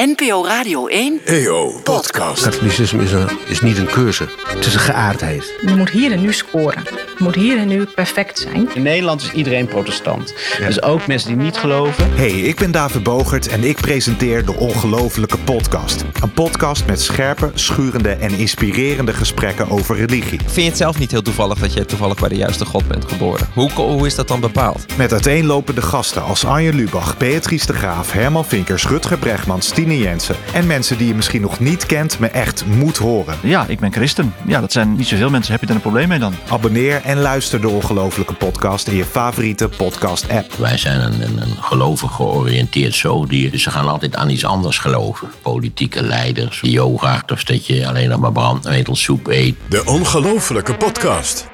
NPO Radio 1. EO Podcast. Katholicisme is, een, is niet een keuze. Het is een geaardheid. Je moet hier en nu scoren. Je moet hier en nu perfect zijn. In Nederland is iedereen protestant. Dus ook mensen die niet geloven. Hey, ik ben David Bogert en ik presenteer de Ongelofelijke Podcast. Een podcast met scherpe, schurende en inspirerende gesprekken over religie. Vind je het zelf niet heel toevallig dat je toevallig bij de juiste God bent geboren? Hoe, ko- hoe is dat dan bepaald? Met uiteenlopende gasten als Anje Lubach, Beatrice de Graaf, Herman Vinkers, Rutger Bregman, Stine Jensen. En mensen die je misschien nog niet kent, maar echt moet horen. Ja, ik ben christen. Ja, dat zijn niet zoveel mensen. Heb je daar een probleem mee dan? Abonneer en luister de Ongelofelijke Podcast in je favoriete podcast-app. Wij zijn een, een, een gelovig georiënteerd zoogdier. Dus ze gaan altijd aan iets anders geloven. Politieke leiders, yoga, of dat je alleen nog maar brandnetelsoep eet. De Ongelofelijke Podcast.